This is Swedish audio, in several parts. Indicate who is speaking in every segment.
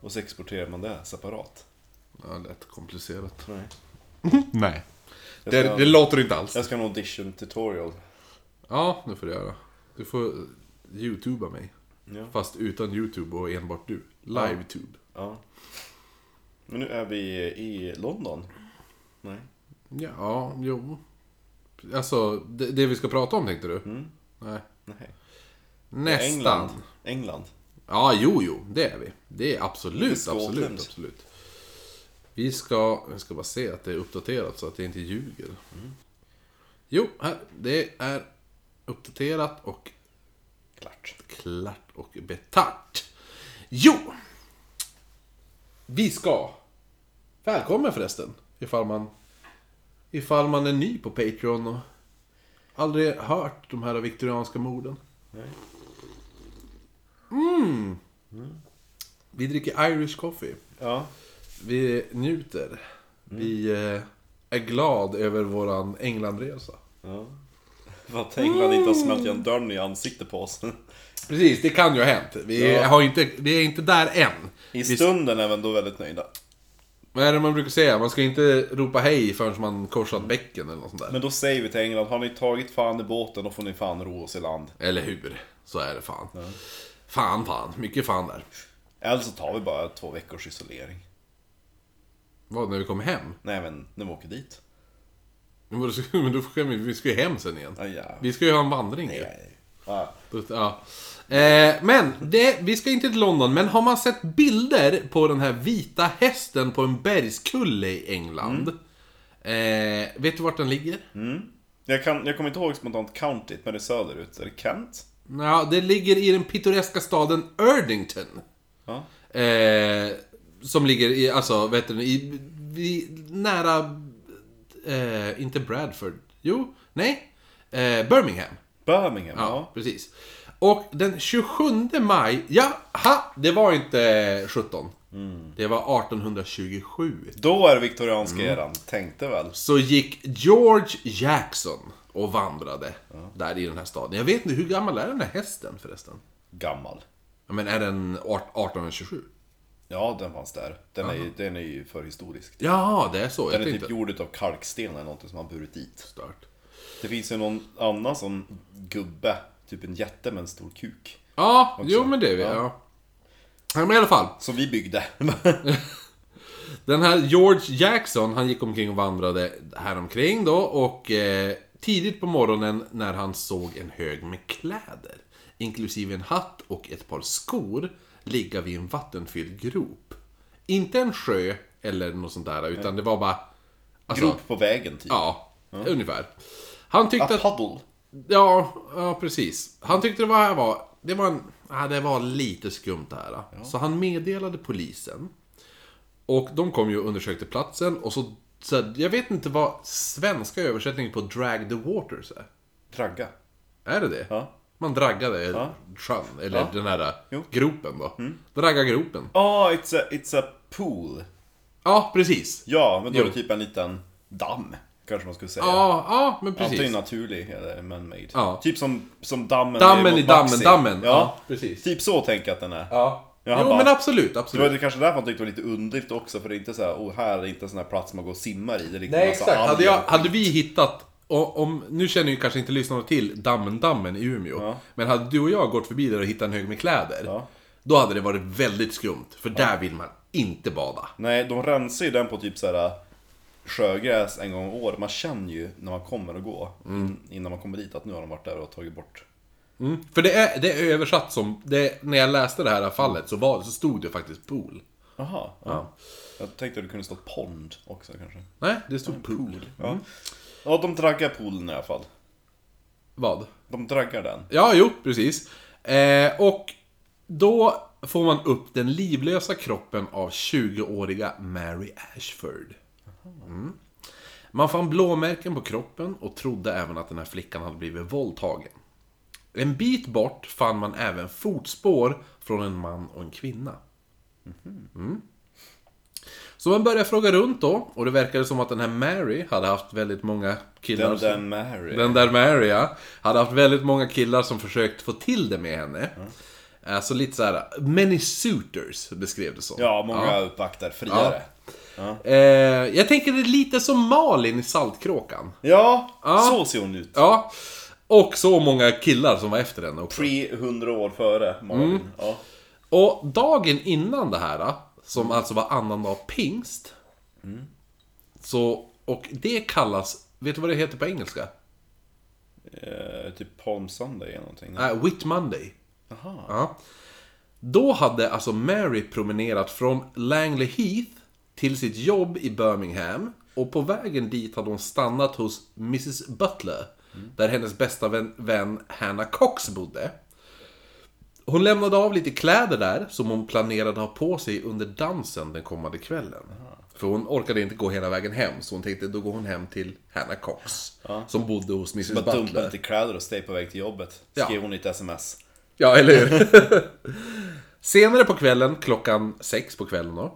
Speaker 1: Och så exporterar man det separat.
Speaker 2: Ja, lätt komplicerat.
Speaker 1: Nej.
Speaker 2: Nej.
Speaker 1: Jag
Speaker 2: Det,
Speaker 1: ska-
Speaker 2: det låter inte alls.
Speaker 1: Jag ska ha en audition tutorial.
Speaker 2: Ja, det får du göra. Du får youtuba mig.
Speaker 1: Ja.
Speaker 2: Fast utan youtube och enbart du. Livetube.
Speaker 1: ja. Men nu är vi i London. Nej.
Speaker 2: Ja, ja jo. Alltså, det, det vi ska prata om tänkte du?
Speaker 1: Mm.
Speaker 2: Nej.
Speaker 1: Nej.
Speaker 2: Nästan.
Speaker 1: England. England.
Speaker 2: Ja, jo, jo, det är vi. Det är absolut,
Speaker 1: Scotland.
Speaker 2: absolut, absolut. Vi ska, jag ska bara se att det är uppdaterat så att det inte ljuger. Mm. Jo, här, det är uppdaterat och
Speaker 1: Klart.
Speaker 2: klart och betart. Jo! Vi ska... Välkommen förresten, ifall man, ifall man är ny på Patreon och aldrig hört de här viktorianska morden.
Speaker 1: Nej.
Speaker 2: Vi dricker Irish coffee.
Speaker 1: Ja.
Speaker 2: Vi njuter. Vi
Speaker 1: Mm.
Speaker 2: eh, är glad över våran Englandresa.
Speaker 1: ja. För att England inte har smält igen dörren i ansiktet på oss.
Speaker 2: Precis, det kan ju ha hänt. Vi,
Speaker 1: Ja.
Speaker 2: har inte, vi är inte där än.
Speaker 1: I stunden är vi ändå väldigt nöjda.
Speaker 2: Vad är det man brukar säga? Man ska inte ropa hej förrän man korsat bäcken eller något sånt där.
Speaker 1: Mm. Men då säger vi till England, har ni tagit fan i båten då får ni fan ro oss i land.
Speaker 2: Eller hur? Så är det fan. Fan, fan. Mycket fan där.
Speaker 1: Eller så tar vi bara två veckors isolering.
Speaker 2: Vad, när vi kom hem?
Speaker 1: Nej men, när vi åker dit.
Speaker 2: Men vadå, ska- men då ska vi, vi ska ju hem sen igen.
Speaker 1: Ja, ja.
Speaker 2: Vi ska ju ha en vandring ju.
Speaker 1: Nej. Ja.
Speaker 2: Då- Ja. Eh, men, det, vi ska inte till London, men har man sett bilder på den här vita hästen på en bergskulle i England? Eh, vet du vart den ligger?
Speaker 1: Jag, kan, jag kommer inte ihåg spontant countyt, men det är söderut. Är det Kent?
Speaker 2: Ja, det ligger i den pittoreska staden Erdington.
Speaker 1: Ja.
Speaker 2: Eh, som ligger i, alltså, vet du, i, i, nära... Eh, inte Bradford. Jo, nej. Eh, Birmingham.
Speaker 1: Birmingham,
Speaker 2: Ja,
Speaker 1: ja.
Speaker 2: precis. Och den 27 maj, ja, ha, det var inte 17. Det var 1827.
Speaker 1: Då är det viktorianska
Speaker 2: Mm.
Speaker 1: eran, tänkte väl.
Speaker 2: Så gick George Jackson och vandrade där i den här staden. Jag vet inte, hur gammal är den här hästen förresten?
Speaker 1: Gammal.
Speaker 2: Ja, men är den art- 1827?
Speaker 1: Ja, den fanns där. Den är, ju- den är ju förhistorisk.
Speaker 2: Ja, det är så.
Speaker 1: Den
Speaker 2: Jag
Speaker 1: är typ
Speaker 2: tänkte...
Speaker 1: gjord utav kalksten eller någonting som man burit dit.
Speaker 2: Stört.
Speaker 1: Det finns ju någon annan som gubbe, typ en jätte med en stor kuk.
Speaker 2: Ja, jo men det är vi. Ja.
Speaker 1: Ja.
Speaker 2: Ja, Men i alla fall.
Speaker 1: Som vi byggde.
Speaker 2: Den här George Jackson, han gick omkring och vandrade häromkring då och eh, tidigt på morgonen när han såg en hög med kläder, inklusive en hatt och ett par skor, ligga vid en vattenfylld grop. Inte en sjö eller något sånt där, utan det var bara... Alltså,
Speaker 1: Grop på vägen typ.
Speaker 2: Ja, ungefär. Han tyckte
Speaker 1: A
Speaker 2: att...
Speaker 1: puddle.
Speaker 2: Ja, ja precis. Han tyckte det var... var- Det var, en, ja, det var lite skumt det här. Så han meddelade polisen. Och de kom ju och undersökte platsen och så... så här, jag vet inte vad svenska översättningen på drag the waters är.
Speaker 1: Dragga.
Speaker 2: Är det det?
Speaker 1: Ja.
Speaker 2: Man draggade sjön, eller den här
Speaker 1: Jo. Mm.
Speaker 2: gropen då. Dragga gropen.
Speaker 1: Ah, it's, a, it's a pool.
Speaker 2: Ja, precis.
Speaker 1: Ja, men då är det
Speaker 2: Jo.
Speaker 1: typ en liten damm. Kanske man skulle säga.
Speaker 2: Ja, ja men precis.
Speaker 1: Antingen naturlig eller man-made.
Speaker 2: Ja.
Speaker 1: Typ som, som dammen
Speaker 2: Dammen
Speaker 1: mot
Speaker 2: i dammen,
Speaker 1: Maxi.
Speaker 2: dammen.
Speaker 1: Ja.
Speaker 2: precis.
Speaker 1: Typ så tänker jag att den är.
Speaker 2: Ja.
Speaker 1: Ja, han
Speaker 2: jo,
Speaker 1: bara-
Speaker 2: men absolut,
Speaker 1: Det
Speaker 2: absolut.
Speaker 1: var det kanske därför han tyckte det var lite underligt också, för det är inte så här, oh här är inte en sån här plats man går och simmar i. Det är liksom
Speaker 2: Nej
Speaker 1: massa
Speaker 2: exakt, hade,
Speaker 1: alger.
Speaker 2: jag, hade vi hittat, och om, nu känner ju kanske inte lyssnarna till dammen-dammen i Umeå,
Speaker 1: Ja.
Speaker 2: men hade du och jag gått förbi där och hittat en hög med kläder,
Speaker 1: Ja.
Speaker 2: då hade det varit väldigt skumt, för där vill man inte bada.
Speaker 1: Nej, de rensar ju den på typ så här sjögräs en gång om året. Man känner ju när man kommer och går,
Speaker 2: Mm.
Speaker 1: innan man kommer dit, att nu har de varit där och tagit bort.
Speaker 2: För det är, det är översatt som, det, när jag läste det här fallet så, var, så stod det faktiskt pool.
Speaker 1: Jaha. Ja. Jag tänkte att det kunde stå pond också kanske.
Speaker 2: Nej, det stod pool.
Speaker 1: Ja, ja de draggar poolen i alla fall.
Speaker 2: Vad?
Speaker 1: De draggar den.
Speaker 2: Ja, jo, precis. Eh, och då får man upp den livlösa kroppen av 20-åriga Mary Ashford. Mm. Man fann blåmärken på kroppen och trodde även att den här flickan hade blivit våldtagen. En bit bort fann man även fotspår från en man och en kvinna. Mm. Så man började fråga runt då och det verkade som att den här Mary hade haft väldigt många killar.
Speaker 1: Den
Speaker 2: som-
Speaker 1: där Mary.
Speaker 2: Typ. den där Maria hade haft väldigt många killar som försökt få till det med henne. Alltså lite så här, many suitors beskrev det som.
Speaker 1: Ja, många uppvaktar friare.
Speaker 2: Eh, jag tänker det är lite som Malin i Saltkråkan.
Speaker 1: Ja, så ser hon ut.
Speaker 2: Ja. Och så många killar som var efter henne också.
Speaker 1: 300 år före Malin.
Speaker 2: Mm.
Speaker 1: Ja.
Speaker 2: Och dagen innan det här, som alltså var annandag pingst. Så, och det kallas, vet du vad det heter på engelska?
Speaker 1: Eh, typ Palm Sunday eller någonting.
Speaker 2: Nej, Eh, Whit Monday. Ja. Då hade alltså Mary promenerat från Langley Heath till sitt jobb i Birmingham. Och på vägen dit hade hon stannat hos Mrs Butler. Där hennes bästa vän, vän Hannah Cox bodde. Hon lämnade av lite kläder där som hon planerade ha på sig under dansen den kommande kvällen. För hon orkade inte gå hela vägen hem, så hon tänkte då går hon hem till Hannah Cox. Som bodde hos Mrs
Speaker 1: Bara dumpa
Speaker 2: Butler.
Speaker 1: lite kläder och steg på väg till jobbet.
Speaker 2: Ja.
Speaker 1: Skrev hon lite sms.
Speaker 2: Ja, eller hur? Senare på kvällen, klockan sex på kvällen då,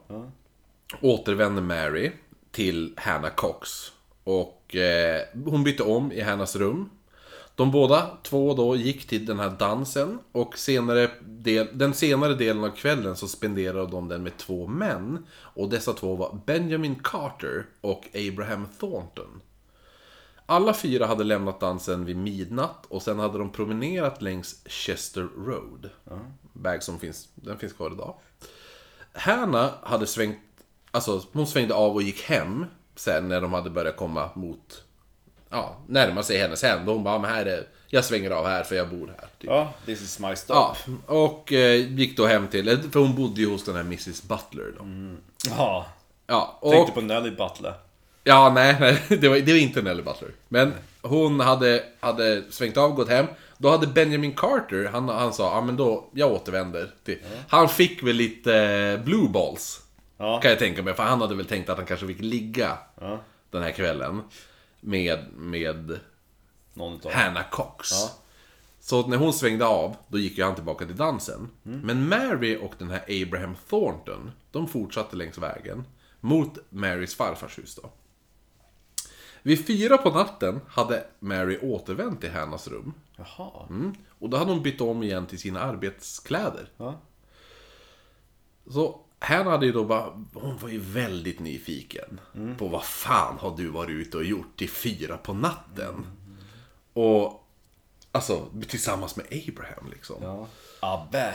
Speaker 2: återvänder Mary till Hannah Cox. Och eh, hon bytte om i Hannahs rum. De båda två då gick till den här dansen och senare del, den senare delen av kvällen så spenderade de den med två män. Och dessa två var Benjamin Carter och Abraham Thornton. Alla fyra hade lämnat dansen vid midnatt och sen hade de promenerat längs Chester Road. Väg som finns, den finns kvar idag. Hanna hade svängt, alltså hon svängde av och gick hem sen när de hade börjat komma mot, ja, närma sig hennes hem. Då Hon bara, men här är, jag svänger av här för jag bor här. Typ.
Speaker 1: Ja, this is my stop.
Speaker 2: Ja, och eh, gick då hem till, för hon bodde ju hos den här Mrs Butler då.
Speaker 1: Ja.
Speaker 2: Ja, och...
Speaker 1: Tänkte på Nelly Butler.
Speaker 2: Ja, nej, nej det, var, det var inte Nelly Butler. Men hon hade, hade svängt av och gått hem. Då hade Benjamin Carter, han, han sa ja men då, jag återvänder. Till. Han fick väl lite eh, blue balls.
Speaker 1: Ja.
Speaker 2: Kan jag tänka mig, för han hade väl tänkt att han kanske fick ligga
Speaker 1: Ja.
Speaker 2: den här kvällen. Med, med
Speaker 1: Någon utav
Speaker 2: Hannah Cox. Så att när hon svängde av, då gick ju han tillbaka till dansen. Men Mary och den här Abraham Thornton, de fortsatte längs vägen. Mot Marys farfars hus då. Vid fyra på natten hade Mary återvänt till Hannas rum.
Speaker 1: Jaha.
Speaker 2: Mm. Och då hade hon bytt om igen till sina arbetskläder.
Speaker 1: Ja.
Speaker 2: Så Hannah hade ju då bara, hon var ju väldigt nyfiken på vad fan har du varit ute och gjort till fyra på natten? Och alltså tillsammans med Abraham liksom. Ja,
Speaker 1: Ja. Abbe.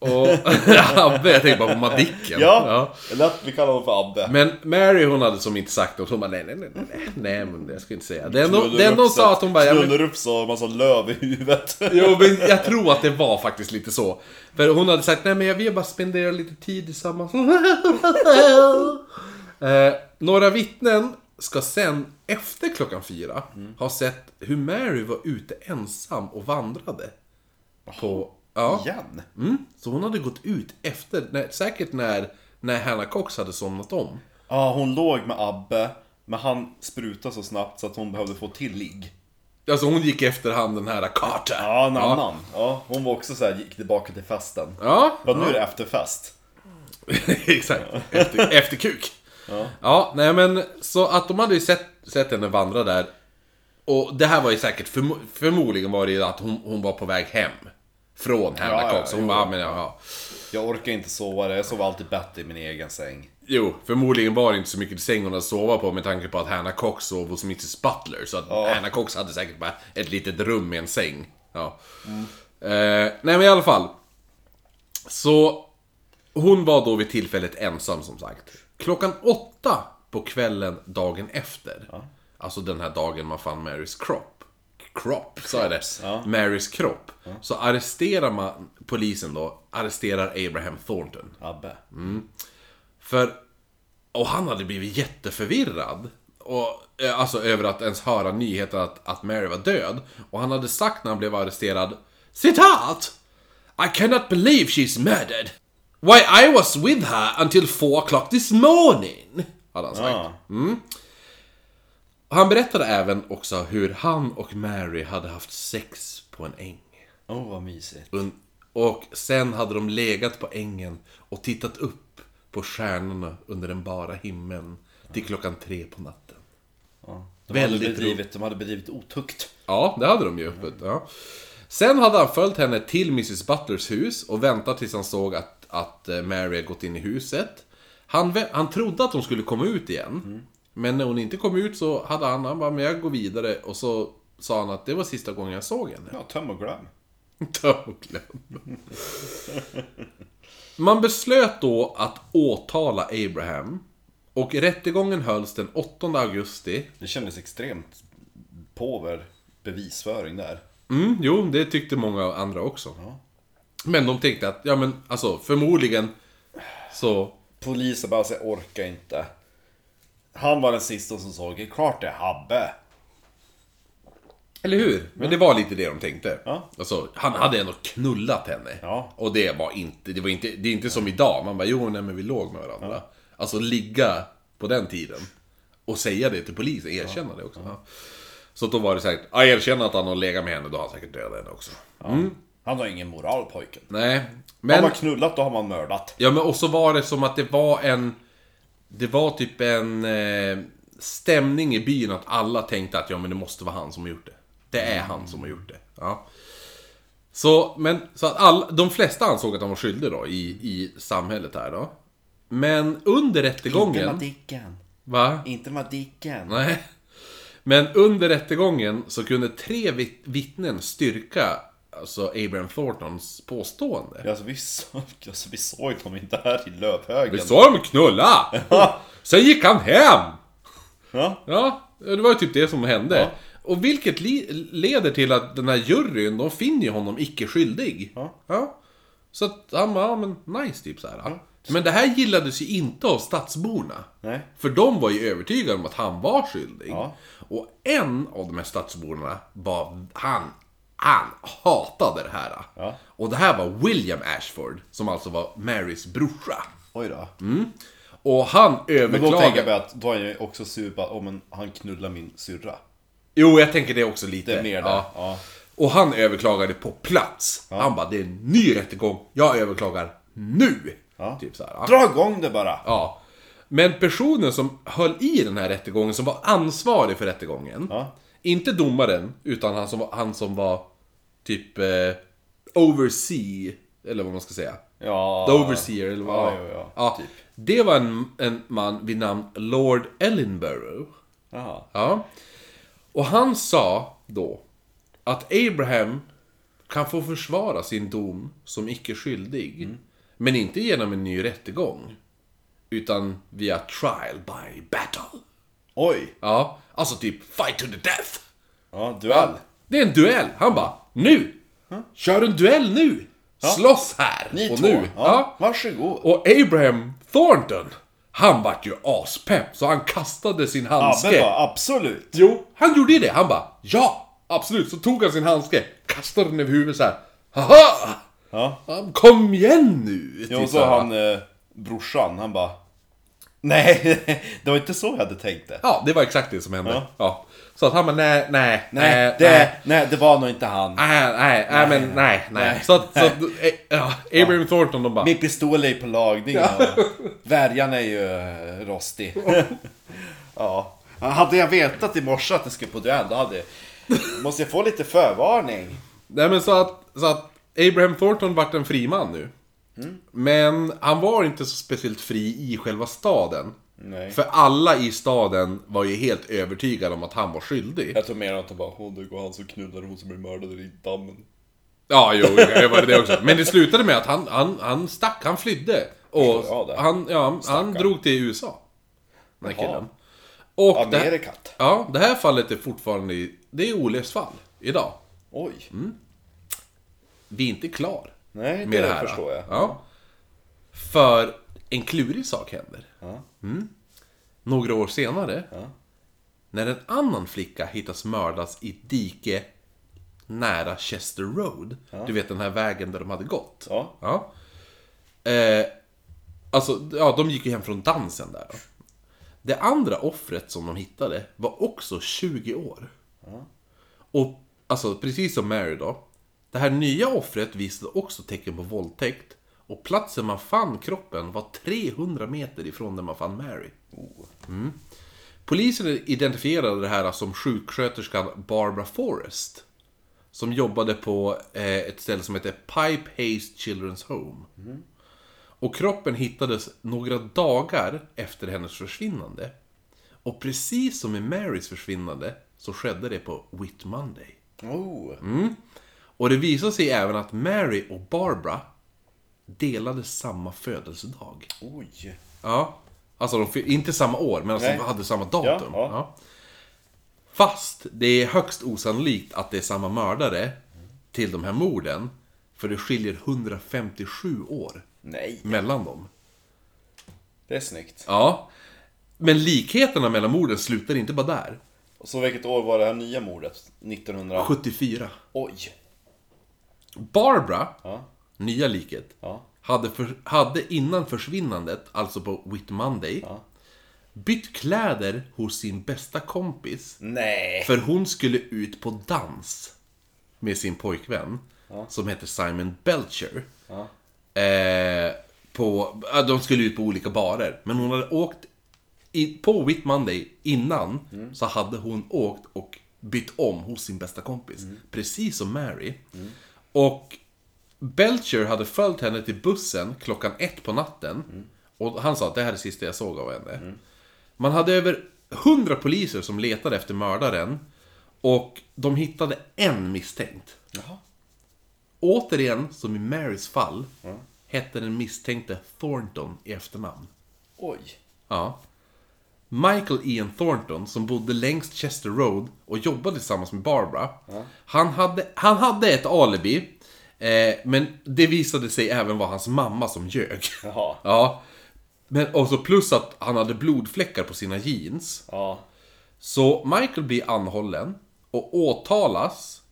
Speaker 2: och Abbe, jag tänkte bara på Madicken.
Speaker 1: Ja, det är lätt vi kallar honom för Abbe.
Speaker 2: Men Mary hon hade som inte sagt något, hon bara nej, nej, nej, nej, nej, nej, men jag ska inte säga. Det enda- det enda hon sa att hon bara, ja, men,
Speaker 1: Knullar upp så massa löv i huvudet.
Speaker 2: Jo, men jag tror att det var faktiskt lite så. För hon hade sagt, nej men jag vill bara spendera lite tid tillsammans. eh, några vittnen ska sen, efter klockan fyra, ha sett hur Mary var ute ensam och vandrade. På, ja.
Speaker 1: Igen?
Speaker 2: Mm. Så hon hade gått ut efter, när, säkert när, när Hannah Cox hade somnat om.
Speaker 1: Ja, hon låg med Abbe, men han sprutade så snabbt så att hon behövde få till ligg.
Speaker 2: Alltså hon gick efter han den här Carter.
Speaker 1: Ja, en annan. Ja, hon var också så här, gick tillbaka till festen.
Speaker 2: Ja,
Speaker 1: Vad nu är det efterfest.
Speaker 2: Exakt, efter, efter kuk. Ja. nej men så att de hade ju sett, sett henne vandra där. Och det här var ju säkert, förmo förmodligen var det ju att hon, hon var på väg hem. Från Hannah
Speaker 1: Ja, ja,
Speaker 2: Cox. Hon
Speaker 1: jo.
Speaker 2: bara, "Ah, men jaha.
Speaker 1: Jag orkar inte sova, jag sover alltid bättre i min egen säng.
Speaker 2: Jo, förmodligen var det inte så mycket säng hon hade sova på med tanke på att Hannah Cox sov hos Mrs Butler. Så att Hannah Cox hade säkert bara ett litet rum med en säng. Ja. Eh, nej men i alla fall. Så hon var då vid tillfället ensam som sagt. Klockan åtta på kvällen dagen efter. Alltså den här dagen man fann Marys kropp. Kropp, sa jag det?
Speaker 1: ja.
Speaker 2: Marys kropp. Så arresterar man, polisen då, arresterar Abraham Thornton.
Speaker 1: Abbe.
Speaker 2: För... Och han hade blivit jätteförvirrad. Och, eh, alltså över att ens höra nyheten att, att Mary var död. Och han hade sagt när han blev arresterad Citat! I cannot believe she's murdered. Why I was with her until four o'clock this morning. Hade han sagt.
Speaker 1: Ja.
Speaker 2: Och han berättade även också hur han och Mary hade haft sex på en äng.
Speaker 1: Åh, oh, vad mysigt.
Speaker 2: Und- Och sen hade de legat på ängen och tittat upp på stjärnorna under den bara himlen till klockan tre på natten.
Speaker 1: De hade,
Speaker 2: Väldigt
Speaker 1: bedrivit, de hade bedrivit otukt.
Speaker 2: Ja, det hade de ju öppet. Ja. Sen hade han följt henne till Mrs Butlers hus och väntat tills han såg att, att eh, Mary hade gått in i huset. Han, vä- han trodde att hon skulle komma ut igen. Men när hon inte kom ut så hade han, han bara, men jag går vidare. Och så sa han att det var sista gången jag såg henne.
Speaker 1: Ja, töm och glöm.
Speaker 2: Ta och glöm. Man beslöt då att åtala Abraham. Och rättegången hölls den 8 augusti.
Speaker 1: Det kändes extremt påver bevisföring där.
Speaker 2: Mm, jo, det tyckte många andra också.
Speaker 1: Ja.
Speaker 2: Men de tänkte att, ja men alltså förmodligen så...
Speaker 1: Polisen bara säger orkar inte. Han var den sista som såg, det är klart det är Habbe.
Speaker 2: Eller hur? Men det var lite det de tänkte.
Speaker 1: Mm. Ja.
Speaker 2: Alltså, han hade ändå knullat henne.
Speaker 1: Ja.
Speaker 2: Och det var inte, det var inte, det är inte som idag. Man bara, jo nej men vi låg med varandra. Alltså ligga på den tiden. Och säga det till polisen, erkänna det också. Ja. Så då var det säkert, ja erkänna att han har legat med henne, då har han säkert dödat henne också.
Speaker 1: Han har ingen moral pojken.
Speaker 2: Nej,
Speaker 1: Har
Speaker 2: Mm. men...
Speaker 1: man knullat då har man mördat.
Speaker 2: Ja men och så var det som att det var en... Det var typ en eh, stämning i byn att alla tänkte att ja men det måste vara han som har gjort det. Det är han som har gjort det. Ja. Så, men, så att all, de flesta ansåg att han var skyldig då i, i samhället här då. Men under rättegången...
Speaker 1: Madicken.
Speaker 2: Va?
Speaker 1: Inte Madicken.
Speaker 2: Nej. Men under rättegången så kunde tre vit- vittnen styrka alltså Abraham Thorntons påstående.
Speaker 1: Alltså vi, såg, alltså vi såg dem inte här i Lövhögen.
Speaker 2: Vi såg dem knulla! Sen gick han hem!
Speaker 1: Ja.
Speaker 2: Ja, det var ju typ det som hände. Och vilket li- leder till att den här juryn, de finner ju honom icke skyldig.
Speaker 1: Ja.
Speaker 2: Så att han bara, ja men nice typ så här. Men det här gillades ju inte av stadsborna.
Speaker 1: Nej.
Speaker 2: För de var ju övertygade om att han var skyldig.
Speaker 1: Ja.
Speaker 2: Och en av de här stadsborna var, han, han hatade det här.
Speaker 1: Ja.
Speaker 2: Och det här var William Ashford, som alltså var Marys brorsa.
Speaker 1: Oj då.
Speaker 2: Och han
Speaker 1: Men då tänker jag
Speaker 2: överklagade...
Speaker 1: bara att då är jag ju också sur på att oh, men han knullar min syrra.
Speaker 2: Jo, jag tänker det också lite.
Speaker 1: Det är mer det.
Speaker 2: Ja.
Speaker 1: Ja.
Speaker 2: Och han överklagade på plats. Han bara, det är en ny rättegång. Jag överklagar nu!
Speaker 1: Ja.
Speaker 2: Typ så här. Ja.
Speaker 1: Dra igång det bara!
Speaker 2: ja. Men personen som höll i den här rättegången, som var ansvarig för rättegången.
Speaker 1: Ja.
Speaker 2: Inte domaren, utan han som var, han som var typ eh, oversee, eller vad man ska säga.
Speaker 1: Ja.
Speaker 2: The overseer, eller vad
Speaker 1: Ja, ja, ja. Typ.
Speaker 2: Det var en, en man vid namn Lord Ellenborough.
Speaker 1: Jaha.
Speaker 2: Ja. Och han sa då att Abraham kan få försvara sin dom som icke skyldig.
Speaker 1: Mm.
Speaker 2: Men inte genom en ny rättegång. Utan via trial by battle.
Speaker 1: Oj!
Speaker 2: Ja, alltså typ fight to the death.
Speaker 1: Ja, duell.
Speaker 2: Det är en duell. Han bara, nu! Kör en duell nu! Slåss här!
Speaker 1: Ni
Speaker 2: och
Speaker 1: två.
Speaker 2: nu!
Speaker 1: Ja. Varsågod.
Speaker 2: Och Abraham Thornton, han vart ju aspepp så han kastade sin handske.
Speaker 1: Abbe bara, absolut.
Speaker 2: Jo, han gjorde ju det. Han bara ja, absolut. Så tog han sin handske, kastade den över huvudet så här. Haha!
Speaker 1: Ja.
Speaker 2: Kom igen nu!
Speaker 1: Jo,
Speaker 2: typ
Speaker 1: och så
Speaker 2: här.
Speaker 1: han eh, brorsan, han bara... Nej, det var inte så jag hade tänkt det.
Speaker 2: Ja, det var exakt det som hände. Ja.
Speaker 1: Ja.
Speaker 2: Så att han bara nej, nej,
Speaker 1: Nej, det,
Speaker 2: nej.
Speaker 1: nej, det var nog inte han.
Speaker 2: Nej, nej, nej, men nej, nej.
Speaker 1: Nej.
Speaker 2: Så att, så att eh, ja, Abraham Thornton, de bara...
Speaker 1: Min pistol är ju på lagning och värjan är ju eh, rostig. ja. Hade jag vetat i morse att det skulle på duell, då hade jag... Måste jag få lite förvarning?
Speaker 2: Nej men så att, så att Abraham Thornton vart en fri man nu.
Speaker 1: Mm.
Speaker 2: Men han var inte så speciellt fri i själva staden.
Speaker 1: Nej.
Speaker 2: För alla i staden var ju helt övertygade om att han var skyldig.
Speaker 1: Jag tror mer att de bara, hon det går han som knullar hon som blir mördad i dammen.
Speaker 2: Ja, jo, det var det också. Men det slutade med att han, han, han stack, han flydde. Och
Speaker 1: Förstår jag det.
Speaker 2: han, ja, han- han drog till USA. Den här
Speaker 1: Jaha.
Speaker 2: killen. Och det, här-
Speaker 1: Amerikat.
Speaker 2: ja, det här fallet är fortfarande i, det är olöst fall idag.
Speaker 1: Oj.
Speaker 2: Vi är inte klar
Speaker 1: Nej,
Speaker 2: med
Speaker 1: det,
Speaker 2: det, Mm. här.
Speaker 1: förstår jag.
Speaker 2: Ja. För en klurig sak händer.
Speaker 1: Ja.
Speaker 2: Mm. Några år senare, när en annan flicka hittas mördas i ett dike nära Chester Road. Du vet den här vägen där de hade gått.
Speaker 1: Ja.
Speaker 2: Ja. Eh, alltså, ja, de gick ju hem från dansen där. då. Det andra offret som de hittade var också 20 år. Och alltså, precis som Mary då. Det här nya offret visade också tecken på våldtäkt. Och platsen man fann kroppen var 300 meter ifrån där man fann Mary. Mm. Polisen identifierade det här som sjuksköterskan Barbara Forrest. Som jobbade på eh, ett ställe som heter Pipe Haze Children's Home. Och kroppen hittades några dagar efter hennes försvinnande. Och precis som i Marys försvinnande så skedde det på Whit Monday.
Speaker 1: Oh.
Speaker 2: Och det visar sig även att Mary och Barbara delade samma födelsedag.
Speaker 1: Oj.
Speaker 2: Ja. Alltså, de, fi- inte samma år, men alltså,
Speaker 1: Nej.
Speaker 2: de hade samma
Speaker 1: Ja,
Speaker 2: datum.
Speaker 1: ja.
Speaker 2: Ja. Fast det är högst osannolikt att det är samma mördare till de här morden. För det skiljer 157 år
Speaker 1: Nej,
Speaker 2: mellan dem.
Speaker 1: det är snyggt.
Speaker 2: Ja. Men likheterna mellan morden slutar inte bara där.
Speaker 1: Och så vilket år var det här nya mordet? 1900...
Speaker 2: 74.
Speaker 1: Oj.
Speaker 2: Barbara,
Speaker 1: Ja.
Speaker 2: nya liket,
Speaker 1: Ja.
Speaker 2: hade, för, hade innan försvinnandet, alltså på Whit Monday,
Speaker 1: Ja.
Speaker 2: bytt kläder hos sin bästa kompis
Speaker 1: Nej.
Speaker 2: För hon skulle ut på dans med sin pojkvän som heter Simon Belcher. Eh, på, ja, de skulle ut på olika barer, men hon hade åkt i, på Whit Monday innan så hade hon åkt och bytt om hos sin bästa kompis. Precis som Mary. Och Belcher hade följt henne till bussen klockan ett på natten. Och han sa att det här är det sista jag såg av henne. Man hade över 100 poliser som letade efter mördaren. Och de hittade en misstänkt.
Speaker 1: Jaha.
Speaker 2: Återigen, som i Marys fall, hette den misstänkte Thornton i efternamn.
Speaker 1: Oj.
Speaker 2: Ja. Michael Ian Thornton, som bodde längst Chester Road och jobbade tillsammans med Barbara. Han, hade, han hade ett alibi, eh, men det visade sig även vara hans mamma som ljög.
Speaker 1: Jaha.
Speaker 2: Ja. Men också plus att han hade blodfläckar på sina jeans.
Speaker 1: Ja.
Speaker 2: Så Michael blir anhållen och åtalas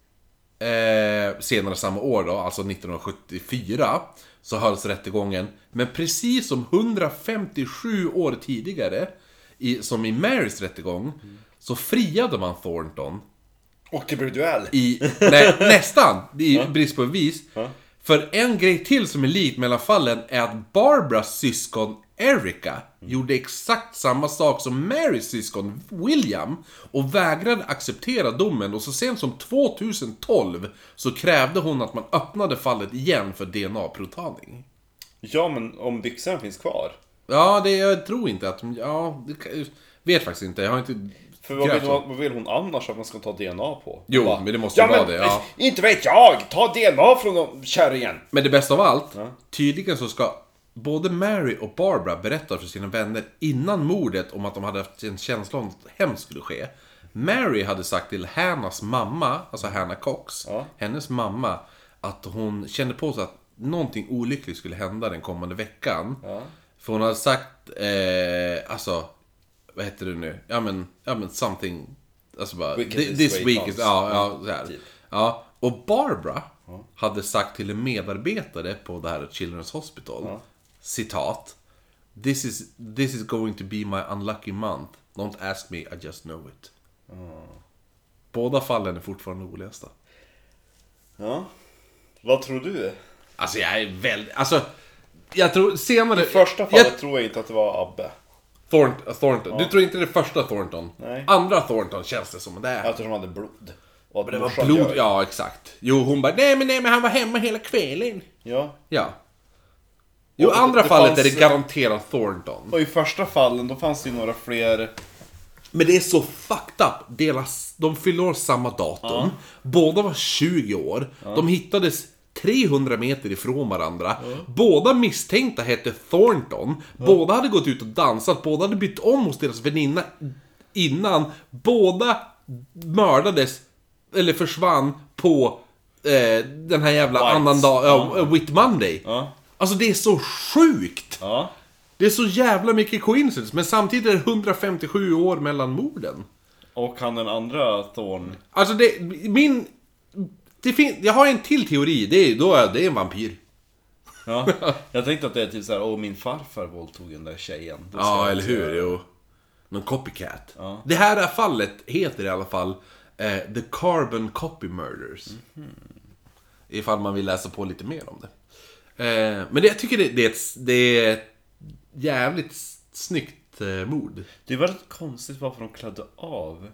Speaker 2: eh, senare samma år då, alltså 1974, så hölls rättegången. Men precis som 157 år tidigare, i, som i Marys rättegång, så friade man Thornton
Speaker 1: Och det blev duell.
Speaker 2: i, nej, nästan, i brist på bevis. För en grej till som är lik mellan fallen är att Barbaras syskon Erica
Speaker 1: Mm.
Speaker 2: gjorde exakt samma sak som Marys syskon William och vägrade acceptera domen och så sent som 2012 så krävde hon att man öppnade fallet igen för DNA-provtagning.
Speaker 1: Ja, men om byxorna finns kvar.
Speaker 2: Ja, det, jag tror inte att... Ja, det, kan- vet faktiskt inte. Jag har inte...
Speaker 1: För vad vill,
Speaker 2: grävt så.
Speaker 1: hon, vad vill hon annars att man ska ta DNA på?
Speaker 2: Jo,
Speaker 1: Bara,
Speaker 2: men det måste ju vara det, ja."
Speaker 1: Inte vet jag! Ta DNA från dem, kärringen!
Speaker 2: Men det bästa av allt, tydligen så ska både Mary och Barbara berätta för sina vänner innan mordet om att de hade haft en känsla om att något hemskt skulle ske. Mary hade sagt till Hannas mamma, alltså Hanna Cox,
Speaker 1: Ja.
Speaker 2: hennes mamma, att hon kände på sig att någonting olyckligt skulle hända den kommande veckan. För hon hade sagt, eh, alltså, vad heter det nu? Ja men, ja men something, alltså bara,
Speaker 1: Wicked
Speaker 2: this,
Speaker 1: this
Speaker 2: this
Speaker 1: way
Speaker 2: week is,
Speaker 1: comes.
Speaker 2: ja, ja,
Speaker 1: Mm.
Speaker 2: så
Speaker 1: Typ.
Speaker 2: här. ja, och Barbara hade sagt till en medarbetare på det här Children's Hospital, citat, this is, this is going to be my unlucky month. Don't ask me, I just know it. Båda fallen är fortfarande olösta.
Speaker 1: Ja. Vad tror du?
Speaker 2: Alltså jag är väldigt, alltså, jag tror senare...
Speaker 1: I första
Speaker 2: jag-
Speaker 1: fallet tror jag inte att det var Abbe.
Speaker 2: Thornt, Thornton. Du tror inte det första Thornton?
Speaker 1: Nej.
Speaker 2: Andra Thornton känns det som det är.
Speaker 1: Eftersom han hade blod. Och att
Speaker 2: det var
Speaker 1: morsan
Speaker 2: blod,
Speaker 1: ljög.
Speaker 2: ja exakt. Jo, hon bara nej men nej men han var hemma hela kvällen.
Speaker 1: ja.
Speaker 2: Ja. Jo,
Speaker 1: Och det-
Speaker 2: andra
Speaker 1: det
Speaker 2: fallet
Speaker 1: fanns-
Speaker 2: är det garanterat Thornton.
Speaker 1: Och i första fallen, då fanns det ju några fler...
Speaker 2: Men det är så fucked up. Deras, de fyller år samma datum. Båda var 20 år. De hittades 300 meter ifrån varandra. Båda misstänkta hette Thornton. Båda hade gått ut och dansat. Båda hade bytt om hos deras väninna innan. Båda mördades, eller försvann, på eh, den här jävla
Speaker 1: Whites.
Speaker 2: annan dag, ja, Whit Monday. Alltså det är så sjukt!
Speaker 1: Ja.
Speaker 2: Det är så jävla mycket coincidence, men samtidigt är det 157 år mellan morden.
Speaker 1: Och han den andra Thorn.
Speaker 2: Alltså det, min... Det fin, jag har en till teori, det är, då är det är en vampyr.
Speaker 1: Ja. Jag tänkte att det är typ såhär, åh min farfar våldtog den där tjejen. Då ska
Speaker 2: Ja,
Speaker 1: jag
Speaker 2: eller
Speaker 1: inte göra-
Speaker 2: hur? Jo. Någon copycat. Det här fallet heter i alla fall eh, The Carbon Copy Murders. Ifall man vill läsa på lite mer om det. Eh, men det, jag tycker det, det, är ett, det är ett jävligt snyggt eh, mord.
Speaker 1: Det är väldigt konstigt varför de klädde av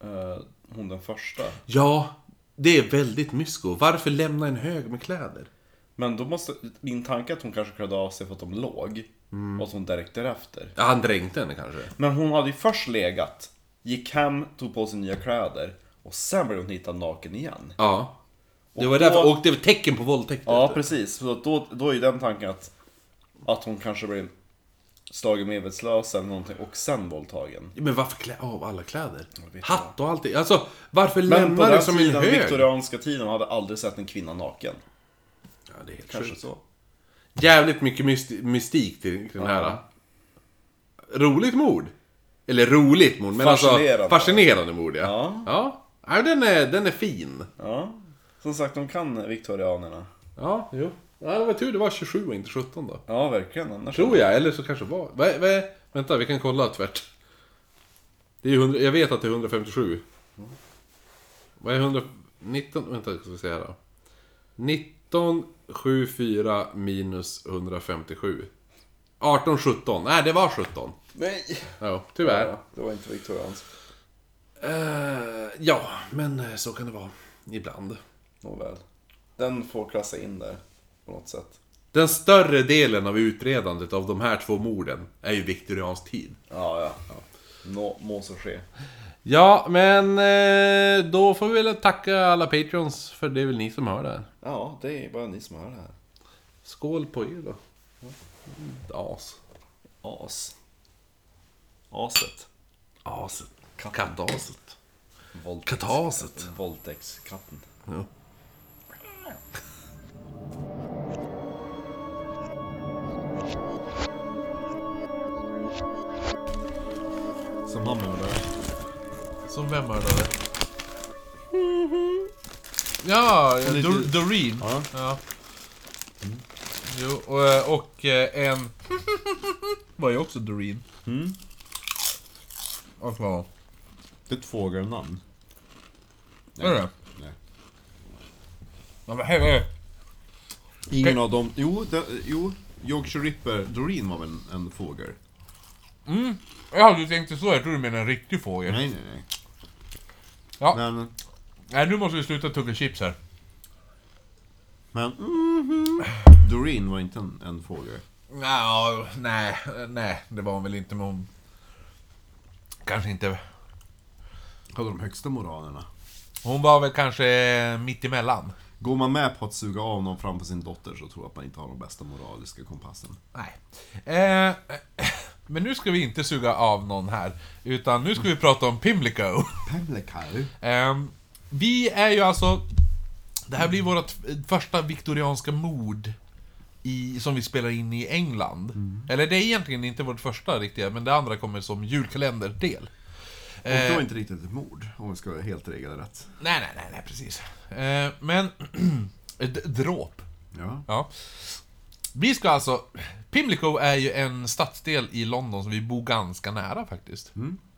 Speaker 1: eh, hon den första.
Speaker 2: Ja, Det är väldigt mysko. Varför lämna en hög med kläder?
Speaker 1: Men då måste, min tanke är att hon kanske klädde av sig för att de låg.
Speaker 2: Mm.
Speaker 1: Och att hon direkt därefter.
Speaker 2: Ja, han dränkte henne kanske.
Speaker 1: Men hon hade ju först legat, gick hem, tog på sig nya kläder. Och sen blev hon hittad naken igen.
Speaker 2: Ja. Det
Speaker 1: Och
Speaker 2: var
Speaker 1: då-
Speaker 2: därför, och det var tecken på våldtäkt.
Speaker 1: Ja, precis. Så då, då är ju den tanken att, att hon kanske blev slagen medvetslös eller någonting och sen våldtagen.
Speaker 2: Men varför klä av alla kläder?
Speaker 1: vet
Speaker 2: Hatt och allting. Alltså, varför
Speaker 1: Men på
Speaker 2: lämna det
Speaker 1: den
Speaker 2: som en
Speaker 1: tiden,
Speaker 2: hög?
Speaker 1: viktorianska tiden, hade aldrig sett en kvinna naken.
Speaker 2: Ja, det är helt
Speaker 1: Kanske
Speaker 2: sjukt.
Speaker 1: så.
Speaker 2: Jävligt mycket mysti- mystik till till den här. Roligt mord. Eller roligt mord, men
Speaker 1: Fascinerande.
Speaker 2: alltså fascinerande mord ja.
Speaker 1: Ja.
Speaker 2: ja. Nej, den, är, den är fin.
Speaker 1: Ja. Som sagt, de kan viktorianerna.
Speaker 2: Ja, jo. Ja, det var tur det var 27 och inte 17 då.
Speaker 1: Ja, verkligen. Annars...
Speaker 2: Tror jag, eller så kanske det var... Va, va, vänta, vi kan kolla tvärt. Det är ju 100, jag vet att det är 157. Vad är 119? Vänta, ska vi se här då. 1974 minus 157. 18, 17. Nej, det var 17.
Speaker 1: Nej!
Speaker 2: Ja, tyvärr.
Speaker 1: Ja, det var inte viktorianskt.
Speaker 2: Eh, ja, men eh, så kan det vara. Ibland.
Speaker 1: Nåväl. Den får klassa in där. På något sätt.
Speaker 2: Den större delen av utredandet av de här två morden är ju viktoriansk tid.
Speaker 1: Ja, ja. Nå, må så ske.
Speaker 2: Ja, men eh, då får vi väl tacka alla patreons för det är väl ni som hör det här.
Speaker 1: Ja, det är bara ni som hör det här.
Speaker 2: Skål på er då. As.
Speaker 1: As. Aset.
Speaker 2: Aset. Kattaset.
Speaker 1: Våldtäkts-
Speaker 2: Kataset.
Speaker 1: Våldtäktskatten.
Speaker 2: Ja.
Speaker 1: Som han mördade.
Speaker 2: Som vem mördade? Mm-hmm. Ja,
Speaker 1: Lite-
Speaker 2: Dor- Doreen.
Speaker 1: Ja.
Speaker 2: Mm. Jo, och, och eh, en... Mm. var ju också Doreen. Och vad?
Speaker 1: Det är ett fågelnamn.
Speaker 2: Är det?
Speaker 1: Nej.
Speaker 2: Ja, men hej, hej.
Speaker 1: Ingen av dem... Jo, det, jo, Yorkshire Ripper, Doreen var väl en, en fågel?
Speaker 2: Ja, du tänkte så. Jag tror du menar en riktig fågel.
Speaker 3: Nej, nej, nej.
Speaker 2: Ja.
Speaker 3: Men,
Speaker 2: Nej, nu måste vi sluta tugga chips här.
Speaker 3: men mhm. Doreen var inte en, en fågel.
Speaker 2: Ja, nej, nej, det var hon väl inte, men hon... Kanske inte...
Speaker 3: Hade de högsta moralerna.
Speaker 2: Hon var väl kanske mitt emellan.
Speaker 3: Går man med på att suga av någon framför sin dotter så tror jag att man inte har den bästa moraliska kompassen.
Speaker 2: Nej. Eh, men nu ska vi inte suga av någon här, utan nu ska vi prata om Pimlico.
Speaker 3: Pemlekau.
Speaker 2: Ehm, vi är ju alltså... Det här blir vårt första viktorianska mord i, som vi spelar in i England. Eller det är egentligen inte vårt första riktiga, men det andra kommer som julkalenderdel.
Speaker 3: Och det var inte riktigt ett mord, om vi ska vara helt regelrätt.
Speaker 2: Nej, nej, nej, nej precis. Eh, men... d- dråp.
Speaker 3: Ja.
Speaker 2: Ja. Vi ska alltså... Pimlico är ju en stadsdel i London som vi bor ganska nära faktiskt.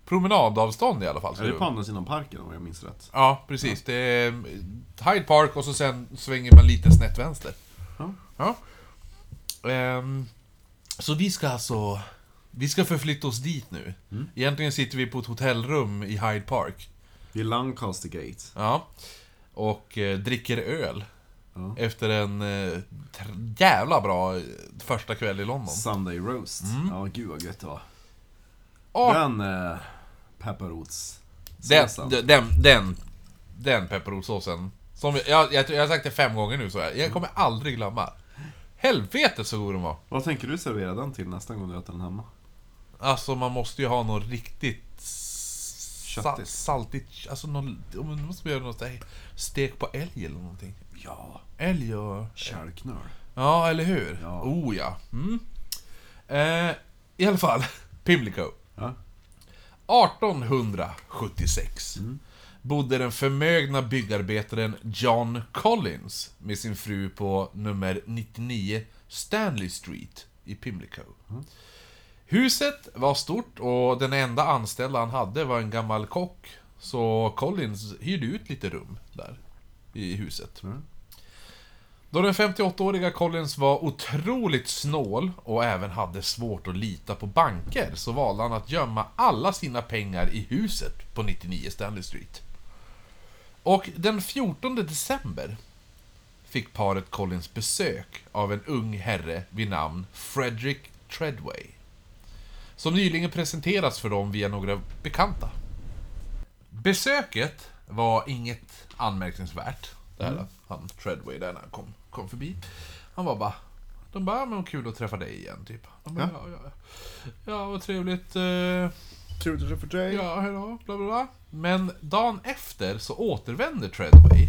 Speaker 2: Promenadavstånd i alla fall. så
Speaker 3: Är det
Speaker 2: Mm. det-
Speaker 3: på andra sidan parken om jag minns rätt?
Speaker 2: Ja, precis. Det är eh, Hyde Park och så sen svänger man lite snett vänster.
Speaker 3: Ja.
Speaker 2: Ja. Ehm, så vi ska alltså... Vi ska förflytta oss dit nu.
Speaker 3: Mm.
Speaker 2: Egentligen sitter vi på ett hotellrum i Hyde Park.
Speaker 3: Vid Lancaster Gate.
Speaker 2: Ja. Och eh, dricker öl.
Speaker 3: Ja.
Speaker 2: Efter en eh, tr- jävla bra eh, första kväll i London.
Speaker 3: Sunday Roast. Ja, gud vad gött det var.
Speaker 2: Och
Speaker 3: Den eh, pepparrots...
Speaker 2: Ah. den,
Speaker 3: såsen.
Speaker 2: den, den, den, den pepparrotssåsen. Som jag, jag, jag, tror- jag har sagt det fem gånger nu så jag, jag kommer aldrig glömma. Helvete så god den var.
Speaker 3: Vad tänker du servera den till nästa gång du äter den hemma?
Speaker 2: Alltså man måste ju ha något riktigt s-
Speaker 3: Köttigt.
Speaker 2: saltigt, alltså någon, ja, men då måste man göra något där, stek på älg eller någonting.
Speaker 3: Ja,
Speaker 2: Älg och...
Speaker 3: kärlknöl.
Speaker 2: Ja, eller hur?
Speaker 3: Ja.
Speaker 2: Oh ja. Mm. Eh, I alla fall, Pimlico.
Speaker 3: Ja.
Speaker 2: 1876
Speaker 3: Mm.
Speaker 2: bodde den förmögna byggarbetaren John Collins med sin fru på nummer 99 Stanley Street i Pimlico.
Speaker 3: Mm.
Speaker 2: Huset var stort och den enda anställda han hade var en gammal kock. Så Collins hyrde ut lite rum där i huset.
Speaker 3: Mm.
Speaker 2: Då den 58-åriga Collins var otroligt snål och även hade svårt att lita på banker så valde han att gömma alla sina pengar i huset på 99 Stanley Street. Och den 14 december fick paret Collins besök av en ung herre vid namn Frederick Treadway. Som nyligen presenterats för dem via några bekanta. Besöket var inget anmärkningsvärt. Det här, han Treadway där när han kom, kom förbi. Han var bara... De bara, "Ja, men kul att träffa dig igen, typ. De bara, ja, ja, ja. ja, vad trevligt. eh,
Speaker 4: Trevligt att träffa dig.
Speaker 2: Ja, hejdå, bla bla bla. Men dagen efter så återvänder Treadway.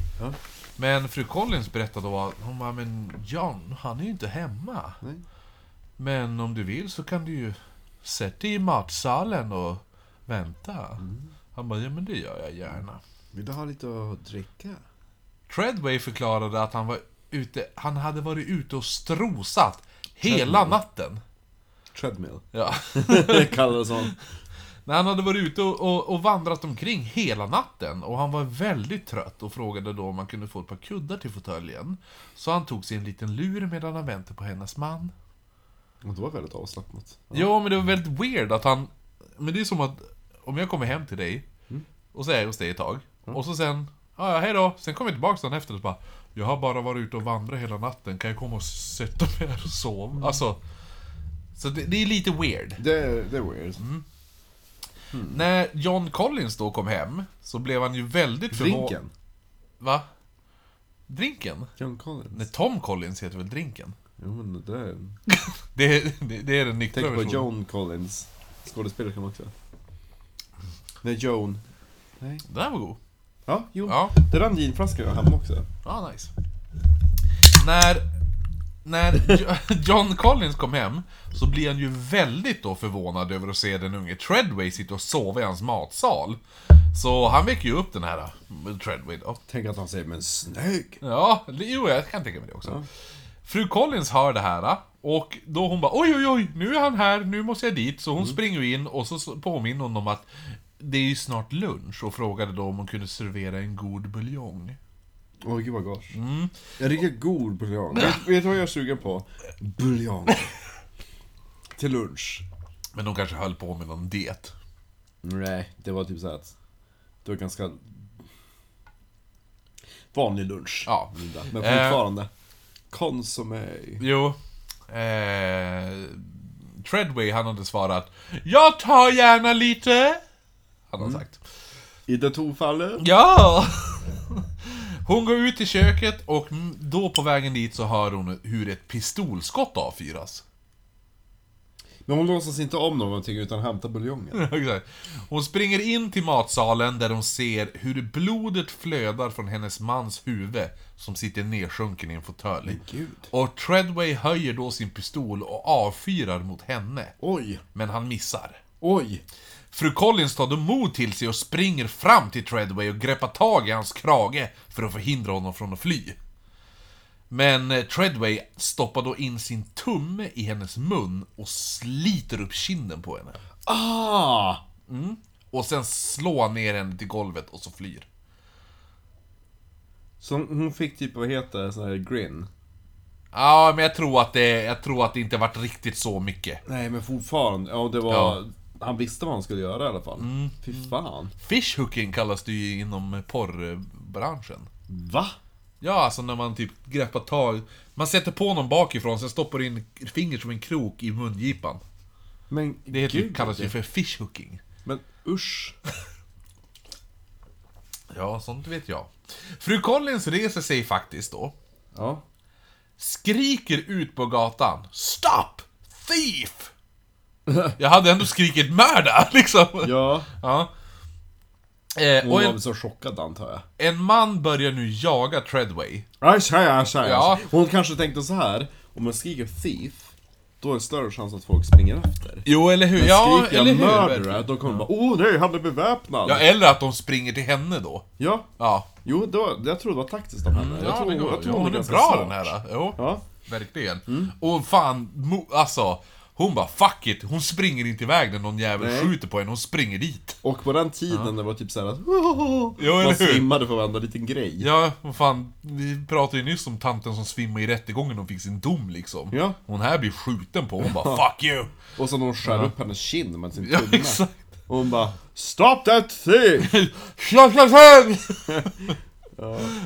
Speaker 2: Men fru Collins berättade då att hon bara, men John, han är ju inte hemma. Men om du vill så kan du ju sätta dig i matsalen och vänta. Han bara, ja men det gör jag gärna.
Speaker 4: Vill du ha lite att dricka?
Speaker 2: Treadway förklarade att han var ute, han hade varit ute och strosat hela natten.
Speaker 1: Treadmill.
Speaker 2: Ja.
Speaker 1: Det kallades han.
Speaker 2: När han hade varit ute och, och, och vandrat omkring hela natten och han var väldigt trött och frågade då om han kunde få ett par kuddar till fåtöljen. Så han tog sig en liten lur medan han väntade på hennes man.
Speaker 1: Och Det var väldigt avslappnat.
Speaker 2: Ja, men det var väldigt weird att han... Men det är som att om jag kommer hem till dig
Speaker 1: Mm.
Speaker 2: och så är jag hos dig ett tag och så sen... Ja, ja, hej då. Sen kommer jag tillbaka dagen efter och bara... Jag har bara varit ute och vandrat hela natten, kan jag komma och sätta mig här och sova?
Speaker 1: Mm.
Speaker 2: Alltså... Så det, det är lite weird.
Speaker 1: Det, det är weird.
Speaker 2: Mm.
Speaker 1: Mm.
Speaker 2: När John Collins då kom hem så blev han ju väldigt förvå-
Speaker 1: Drinken.
Speaker 2: Va? Drinken?
Speaker 1: John
Speaker 2: Nej,
Speaker 1: Collins.
Speaker 2: Tom Collins heter väl Drinken?
Speaker 1: Jo men det där.
Speaker 2: Det är, det, det är den nyktra
Speaker 1: Tänk på
Speaker 2: versionen.
Speaker 1: John Collins. Skådespelare kan man också. Nej, Joan.
Speaker 2: Den här var god.
Speaker 1: Ja, jo.
Speaker 2: Ja,
Speaker 1: Det rann ginflaskor hemma också.
Speaker 2: ja Ah, nice. När, när Jo- John Collins kom hem så blir han ju väldigt då förvånad över att se den unge Treadway sitta och sova i hans matsal. Så han väcker ju upp den här eh, Treadway då.
Speaker 1: Tänk att han säger 'Men snygg!'
Speaker 2: Ja, det- jo jag kan tänka mig det också. Fru Collins hör det här eh, och då hon bara oj oj oj, nu är han här, nu måste jag dit. Så hon springer ju in och så s- påminner hon om att det är ju snart lunch och frågade då om hon kunde servera en god buljong.
Speaker 1: Åh gud vad gott. Jag dricker god buljong. Vet, vet du vad jag är sugen på? Buljong. Till lunch.
Speaker 2: Men hon kanske höll på med någon diet.
Speaker 1: Nej, det var typ så här att... Det var ganska... Vanlig lunch.
Speaker 2: Ja.
Speaker 1: Men fortfarande. Consommé.
Speaker 2: Jo. Eh, Treadway han hade svarat Jag tar gärna lite. Han har sagt.
Speaker 1: I det tofallet.
Speaker 2: Ja! Hon går ut i köket och m- då på vägen dit så hör hon hur ett pistolskott avfyras.
Speaker 1: Men hon låtsas inte om någonting utan hämtar buljongen.
Speaker 2: Exakt. Hon springer in till matsalen där hon ser hur blodet flödar från hennes mans huvud som sitter nedsjunken i en fåtölj.
Speaker 1: Gud.
Speaker 2: Och Treadway höjer då sin pistol och avfyrar mot henne.
Speaker 1: Oj,
Speaker 2: Men han missar.
Speaker 1: oj.
Speaker 2: Fru Collins tar då mod till sig och springer fram till Treadway och greppar tag i hans krage för att förhindra honom från att fly. Men eh, Treadway stoppar då in sin tumme i hennes mun och sliter upp kinden på henne.
Speaker 1: Ah!
Speaker 2: Och sen slår ner henne till golvet och så flyr.
Speaker 1: Så hon hon fick typ, vad heter det, sån här grin.
Speaker 2: Ja, men jag tror att det, jag tror att det inte varit riktigt så mycket.
Speaker 1: Nej men fortfarande, ja Mm. det var...
Speaker 2: Ja.
Speaker 1: Han visste vad han skulle göra i alla fall. Fy fan.
Speaker 2: Fishhooking kallas det ju inom porrbranschen.
Speaker 1: Va?
Speaker 2: Ja, alltså när man typ greppar tag... Man sätter på någon bakifrån, sen stoppar in fingret som en krok i mungipan.
Speaker 1: Men
Speaker 2: Det heter,
Speaker 1: gud.
Speaker 2: kallas ju för fishhooking.
Speaker 1: Men usch.
Speaker 2: Ja, sånt vet jag. Fru Collins reser sig faktiskt då.
Speaker 1: Ja.
Speaker 2: Skriker ut på gatan. Stop! Thief! Jag hade ändå skrikit mörda, liksom.
Speaker 1: Ja.
Speaker 2: Ja. Eh,
Speaker 1: Hon
Speaker 2: och
Speaker 1: var väl
Speaker 2: en,
Speaker 1: så chockad antar jag.
Speaker 2: en man börjar nu jaga Treadway.
Speaker 1: Aj, aj, aj, aj.
Speaker 2: Ja.
Speaker 1: Hon kanske tänkte så här. om man skriker thief, då är det större chans att folk springer efter.
Speaker 2: Jo, eller hur?
Speaker 1: Men
Speaker 2: ja,
Speaker 1: skriker
Speaker 2: eller
Speaker 1: jag
Speaker 2: hur?
Speaker 1: mördare, då kommer de bara åh nej, han är beväpnad.
Speaker 2: Ja, eller att de springer till henne då.
Speaker 1: ja.
Speaker 2: Ja.
Speaker 1: Jo, det var, jag tror det var taktiskt av henne. jag
Speaker 2: ja,
Speaker 1: tror,
Speaker 2: det går.
Speaker 1: jag tror
Speaker 2: ja,
Speaker 1: hon
Speaker 2: hon är
Speaker 1: ganska
Speaker 2: bra
Speaker 1: smart.
Speaker 2: den här. Jo.
Speaker 1: Ja.
Speaker 2: Verkligen. Och fan, mo- alltså. Hon bara 'fuck it' hon springer inte iväg när någon jävel
Speaker 1: Nej.
Speaker 2: skjuter på henne, hon springer dit.
Speaker 1: Och på den tiden det var typ såhär att
Speaker 2: Jo, eller
Speaker 1: man
Speaker 2: hur?
Speaker 1: svimmade för varenda liten grej.
Speaker 2: Ja, vad fan, vi pratade ju nyss om tanten som svimmade i rättegången och fick sin dom liksom.
Speaker 1: Ja.
Speaker 2: Hon här blir skjuten på, hon bara 'fuck you'
Speaker 1: Och så någon skär upp hennes kind med sin
Speaker 2: Ja,
Speaker 1: tumme.
Speaker 2: exakt.
Speaker 1: Och hon bara Stop that thing!
Speaker 2: Slå, slå, slå!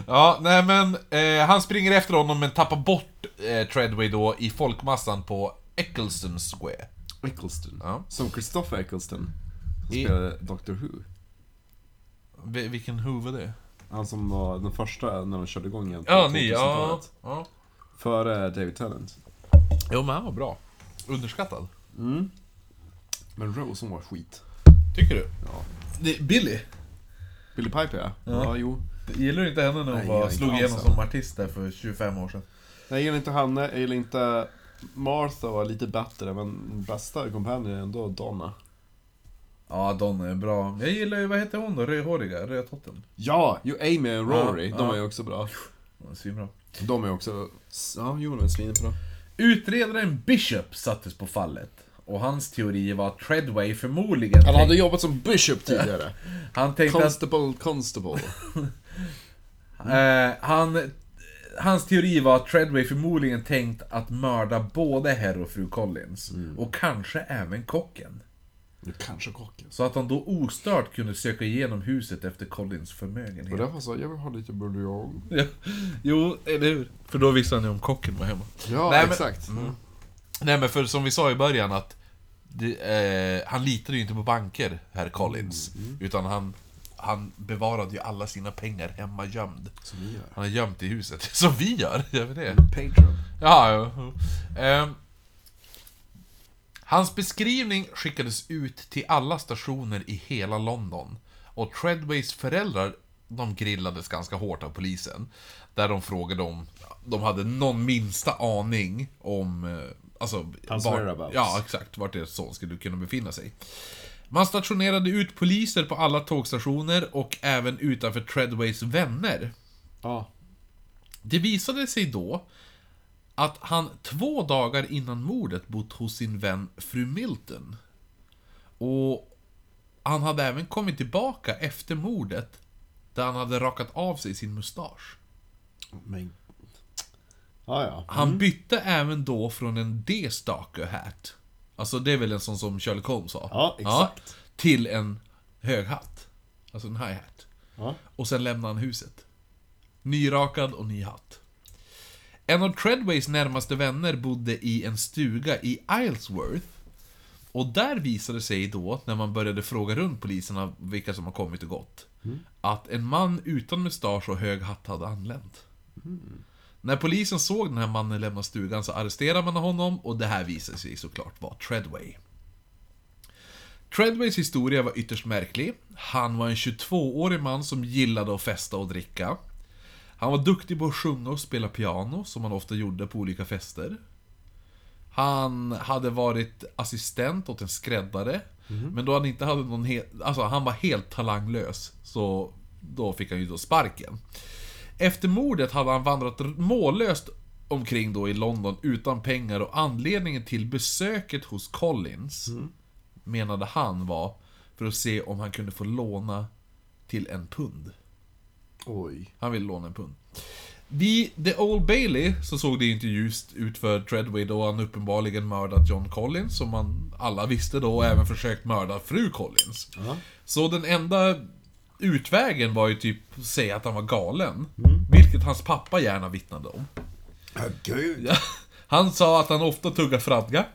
Speaker 2: Ja, nej men eh, han springer efter honom men tappar bort eh, Treadway då i folkmassan på Eccleston Square.
Speaker 1: Eccleston.
Speaker 2: Ja.
Speaker 1: Som Christopher Eccleston. Som
Speaker 2: I-
Speaker 1: spelade Doctor Who.
Speaker 2: Vi- vilken huvud det är.
Speaker 1: Han som var den första när de körde igång igen på
Speaker 2: Ja, ni, ja,
Speaker 1: 2000-talet.
Speaker 2: ja.
Speaker 1: Före David Tennant.
Speaker 2: Jo men han var bra. Underskattad.
Speaker 1: Men Rose hon var skit.
Speaker 2: Tycker du?
Speaker 1: Ja.
Speaker 2: Det, Billy?
Speaker 1: Billy Piper ja. ja. jo.
Speaker 2: Gillar du inte henne när hon
Speaker 1: Nej,
Speaker 2: var-
Speaker 1: jag är inte alls henne.
Speaker 2: artist där för 25 år sedan?
Speaker 1: Jag gillar inte Hanne, jag gillar inte Martha var lite bättre men den bästa kompanjen är ändå Donna.
Speaker 2: Ja, Donna är bra. Jag gillar ju, vad heter hon då? Rödhåriga? Rödtotten?
Speaker 1: Ja! Jo, Amy och Rory,
Speaker 2: Ja,
Speaker 1: de
Speaker 2: ja.
Speaker 1: är ju också bra.
Speaker 2: Hon är svinbra.
Speaker 1: De är också... Ja, jo de är svinbra.
Speaker 2: Utredaren Bishop sattes på fallet. Och hans teori var att Treadway förmodligen...
Speaker 1: Han hade
Speaker 2: tänk-
Speaker 1: jobbat som Bishop tidigare.
Speaker 2: han tänkte att...
Speaker 1: Constable, Constable.
Speaker 2: Eh, han, hans teori var att Treadway förmodligen tänkt att mörda både herr och fru Collins. Och kanske även kocken.
Speaker 1: Nu kanske kocken.
Speaker 2: Så att han då ostört kunde söka igenom huset efter Collins
Speaker 1: Och
Speaker 2: förmögenhet.
Speaker 1: därför sa jag, jag vill ha lite buljong.
Speaker 2: Ja. Jo, eller hur? För då visste han ju om kocken var hemma.
Speaker 1: Ja,
Speaker 2: Nej, men-
Speaker 1: exakt. Mm.
Speaker 2: Nej men för som vi sa i början att det, eh, han litade ju inte på banker, herr Collins. Utan han, han bevarade ju alla sina pengar hemma gömd.
Speaker 1: Som vi gör.
Speaker 2: Han är gömt i huset. Som vi gör, gör vi det?
Speaker 1: Patreon.
Speaker 2: Ja, jo, jo. Ehm, Hans beskrivning skickades ut till alla stationer i hela London. Och Treadways föräldrar, de grillades ganska hårt av polisen. Där de frågade om de hade någon minsta aning om... eh, Alltså,
Speaker 1: Hans
Speaker 2: vart-
Speaker 1: whereabouts.
Speaker 2: Ja, exakt. Vart deras son skulle kunna befinna sig. Man stationerade ut poliser på alla tågstationer och även utanför Treadways vänner.
Speaker 1: Ja.
Speaker 2: Det visade sig då att han två dagar innan mordet bott hos sin vän fru Milton. Och han hade även kommit tillbaka efter mordet där han hade rakat av sig sin mustasch.
Speaker 1: Men... Ja, ja.
Speaker 2: Han bytte även då från en D-stalker hat, alltså det är väl en sån som Sherlock Holmes sa?
Speaker 1: Ja, exakt.
Speaker 2: till en hög hatt. Alltså en high hat.
Speaker 1: ja.
Speaker 2: Och sen lämnade han huset. Nyrakad och ny hatt. En av Treadways närmaste vänner bodde i en stuga i Islesworth. Och där visade det sig då, när man började fråga runt poliserna vilka som har kommit och gått,
Speaker 1: Mm.
Speaker 2: att en man utan mustasch och hög hatt hade anlänt.
Speaker 1: Mm.
Speaker 2: När polisen såg den här mannen lämna stugan så arresterade man honom och det här visade sig såklart vara Treadway. Treadways historia var ytterst märklig. Han var en 22-årig man som gillade att festa och dricka. Han var duktig på att sjunga och spela piano, som han ofta gjorde på olika fester. Han hade varit assistent åt en skräddare, men då han inte hade någon he- alltså han var helt talanglös, så då fick han ju då sparken. Efter mordet hade han vandrat r- mållöst omkring då i London utan pengar och anledningen till besöket hos Collins menade han var för att se om han kunde få låna till en pund.
Speaker 1: Oj.
Speaker 2: Han ville låna en pund. Vid The Old Bailey så såg det ju inte ljust ut för Treadway då han uppenbarligen mördat John Collins, som man alla visste då, och även försökt mörda fru Collins. Så den enda utvägen var ju typ att säga att han var galen, vilket hans pappa gärna vittnade om.
Speaker 1: Gud.
Speaker 2: Ja, Han sa att han ofta tuggar fradga.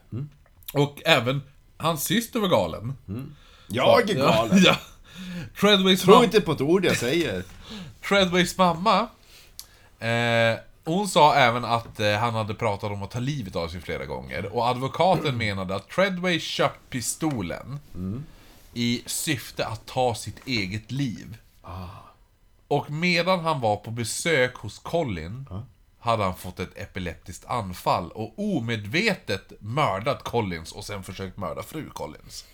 Speaker 2: Och även hans syster var galen.
Speaker 1: Jag är galen.
Speaker 2: Ja. Treadways,
Speaker 1: Tro
Speaker 2: mam-
Speaker 1: inte på ett ord jag säger.
Speaker 2: Treadways mamma, eh, hon sa även att eh, han hade pratat om att ta livet av sig flera gånger. Och advokaten menade att Treadway köpt pistolen i syfte att ta sitt eget liv. Och medan han var på besök hos Colin hade han fått ett epileptiskt anfall och omedvetet mördat Collins och sen försökt mörda fru Collins.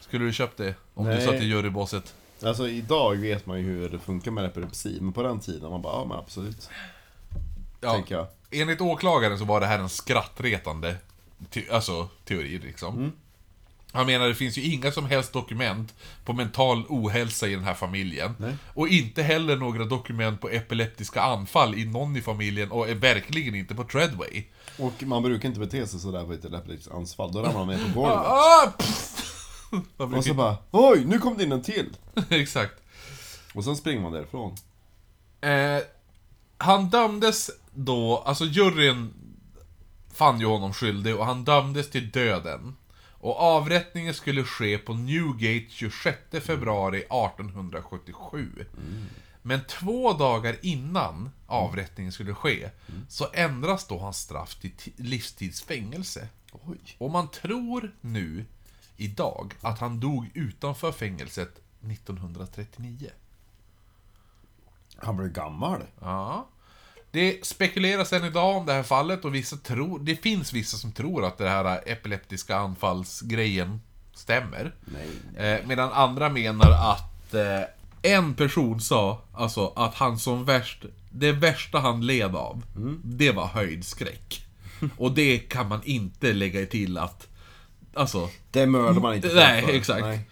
Speaker 2: Skulle du köpt det? Om du
Speaker 1: Nej.
Speaker 2: satt i jurybåset?
Speaker 1: Alltså idag vet man ju hur det funkar med epilepsi, men på den tiden man bara, ja men absolut.
Speaker 2: Ja.
Speaker 1: Tänker jag.
Speaker 2: Enligt åklagaren så var det här en skrattretande te- alltså, teori liksom.
Speaker 1: Mm.
Speaker 2: Han menar det finns ju inga som helst dokument på mental ohälsa i den här familjen. Och inte heller några dokument på epileptiska anfall i någon i familjen och är verkligen inte på Treadway.
Speaker 1: Och man brukar inte bete sig sådär på ett epileptiskt anfall, då ramlar man ner på golvet.
Speaker 2: Ah, pff. Man brukar
Speaker 1: Och så
Speaker 2: ju-
Speaker 1: bara, oj, nu kom det in en till!
Speaker 2: Exakt.
Speaker 1: Och sen springer man därifrån.
Speaker 2: Eh, han dömdes då, alltså juryn fann ju honom skyldig och han dömdes till döden. Och avrättningen skulle ske på Newgate 26 februari 1877. Men två dagar innan avrättningen skulle ske så ändras då hans straff till ti- livstidsfängelse. Och man tror nu, idag, att han dog utanför fängelset 1939.
Speaker 1: Han blev gammal.
Speaker 2: Ja. Det spekuleras än idag om det här fallet och vissa tror, det finns vissa som tror att det här epileptiska anfallsgrejen stämmer. Eh, medan andra menar att eh, en person sa alltså att han som värst, det värsta han led av, det var höjdskräck. Och det kan man inte lägga till att, alltså,
Speaker 1: Det mördar man inte
Speaker 2: Nej,
Speaker 1: för.
Speaker 2: exakt.
Speaker 1: Nej.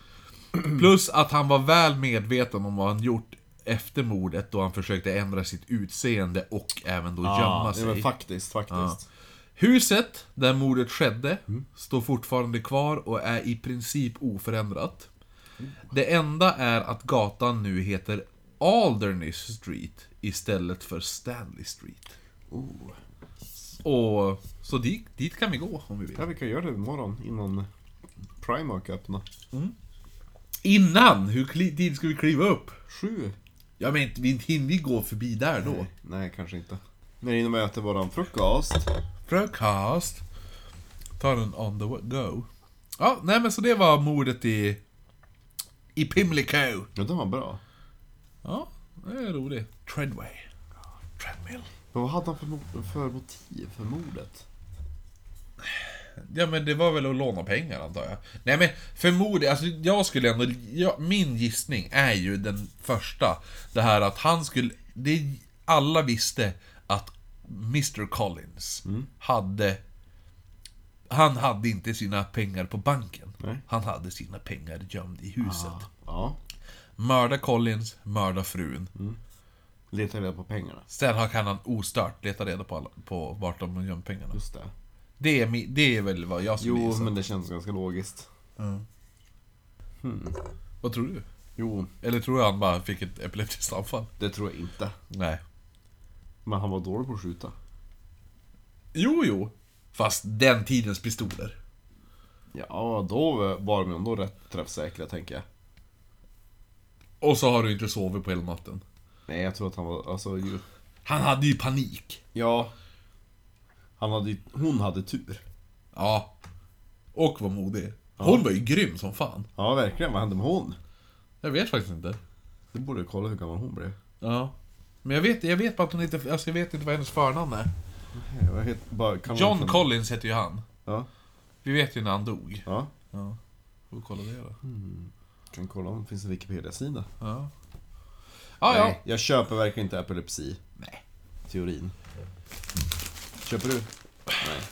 Speaker 2: Plus att han var väl medveten om vad han gjort efter mordet då han försökte ändra sitt utseende och även då gömma
Speaker 1: Ja, men
Speaker 2: sig.
Speaker 1: faktiskt, faktiskt.
Speaker 2: Huset där mordet skedde står fortfarande kvar och är i princip oförändrat. Det enda är att gatan nu heter Alderney Street istället för Stanley Street. Och så dit, dit kan vi gå om vi vill.
Speaker 1: Ja, vi kan göra det imorgon innan Primark öppnar.
Speaker 2: Innan! Hur kli, dit ska vi kliva upp?
Speaker 1: Sju?
Speaker 2: Ja men vi hinner vi gå förbi där då?
Speaker 1: Nej, kanske inte. När innan vi äter våran frukost.
Speaker 2: Frukost. Ta den on the go. Ja, nej men så det var mordet i... I Pimlico.
Speaker 1: Ja, den var bra.
Speaker 2: Ja, det är roligt. Treadway. Treadmill.
Speaker 1: Men vad hade han för, mo- för motiv för mordet?
Speaker 2: Ja men det var väl att låna pengar antar jag. Nej men förmodligen, alltså jag skulle ändå, ja, min gissning är ju den första. Det här att han skulle, det, alla visste att Mr Collins hade, han hade inte sina pengar på banken.
Speaker 1: Nej. Ah.
Speaker 2: Han hade sina pengar gömd i huset.
Speaker 1: Ja,
Speaker 2: Mörda Collins, mörda frun.
Speaker 1: leta reda på pengarna.
Speaker 2: Sen kan han ostört leta reda på, alla, på vart de har gömt pengarna.
Speaker 1: Just det.
Speaker 2: Det är, mi- det är väl vad jag skulle
Speaker 1: Jo,
Speaker 2: gissa.
Speaker 1: men det känns ganska logiskt.
Speaker 2: Vad tror du?
Speaker 1: Jo,
Speaker 2: Eller tror du han bara fick ett epileptiskt anfall?
Speaker 1: det tror jag inte.
Speaker 2: Nej.
Speaker 1: Men han var dålig på att skjuta.
Speaker 2: Jo, jo. Fast den tidens pistoler.
Speaker 1: Ja, då var de ändå rätt träffsäkra, tänker jag.
Speaker 2: Och så har du inte sovit på hela natten.
Speaker 1: Nej, jag tror att han var... Alltså, ju...
Speaker 2: Han hade ju panik.
Speaker 1: Ja. Han hade, ju- hon hade tur.
Speaker 2: Ja. Och var modig. Hon var ju grym som fan.
Speaker 1: Ja, verkligen. Vad hände med hon?
Speaker 2: Jag vet faktiskt inte.
Speaker 1: Du borde kolla hur gammal hon blev.
Speaker 2: Ja. Men jag vet, jag vet bara att hon inte... Alltså jag vet inte vad hennes förnamn är.
Speaker 1: Jag vet, bara, kan man-
Speaker 2: John
Speaker 1: kan-
Speaker 2: Collins heter ju han.
Speaker 1: Ja,
Speaker 2: Vi vet ju när han dog.
Speaker 1: ja.
Speaker 2: Ja. Mm. Får vi kolla det då.
Speaker 1: Kan kolla om det finns en Wikipedia-sida.
Speaker 2: Ja. Ja, ja.
Speaker 1: Nej, jag köper verkligen inte epilepsi.
Speaker 2: Nej.
Speaker 1: Teorin. Köper du?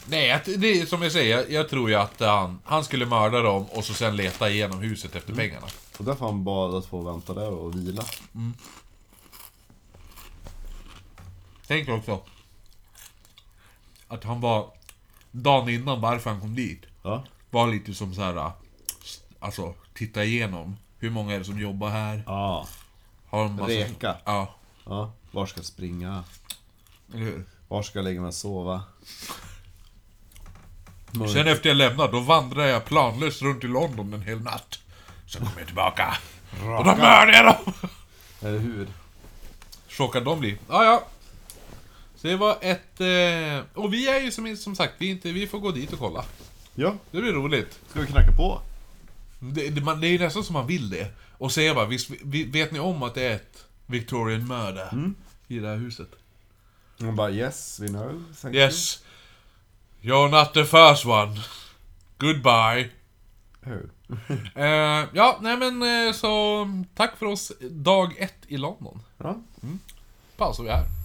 Speaker 2: Nej, att- det är som jag säger, jag, jag tror ju att eh, han, han skulle mörda dem och så sen leta igenom huset efter pengarna.
Speaker 1: Och därför har han bad att få vänta där och vila.
Speaker 2: Tänk också att han var, dagen innan varför han kom dit,
Speaker 1: Ja.
Speaker 2: var lite som så här, eh, alltså titta igenom. Hur många är det som jobbar här?
Speaker 1: Ja.
Speaker 2: Har de massa-
Speaker 1: Reka.
Speaker 2: Ja,
Speaker 1: ja. Var ska jag springa?
Speaker 2: eller hur?
Speaker 1: Var ska jag lägga mig och sova?
Speaker 2: Sen efter jag lämnade, då vandrade jag planlöst runt i London en hel natt. Sen kom jag tillbaka. Och då mördade jag dem!
Speaker 1: Eller hur?
Speaker 2: chockade de blir. Ja, ja. Så det var ett... Eh, och vi är ju som, som sagt, vi, är inte, vi får gå dit och kolla.
Speaker 1: Ja,
Speaker 2: Det blir roligt.
Speaker 1: ska vi knacka på?
Speaker 2: Det, det, man, det är ju nästan som man vill det. Och säga bara, visst, vi, vet ni om att det är ett Victorian murder i det här huset?
Speaker 1: Hon bara yes, we know. Thank
Speaker 2: Yes. You're not the first one. Goodbye.
Speaker 1: you. Oh.
Speaker 2: Eh, ja, nej men eh, så tack för oss dag ett i London.
Speaker 1: Ja.
Speaker 2: Paus, så vi är här.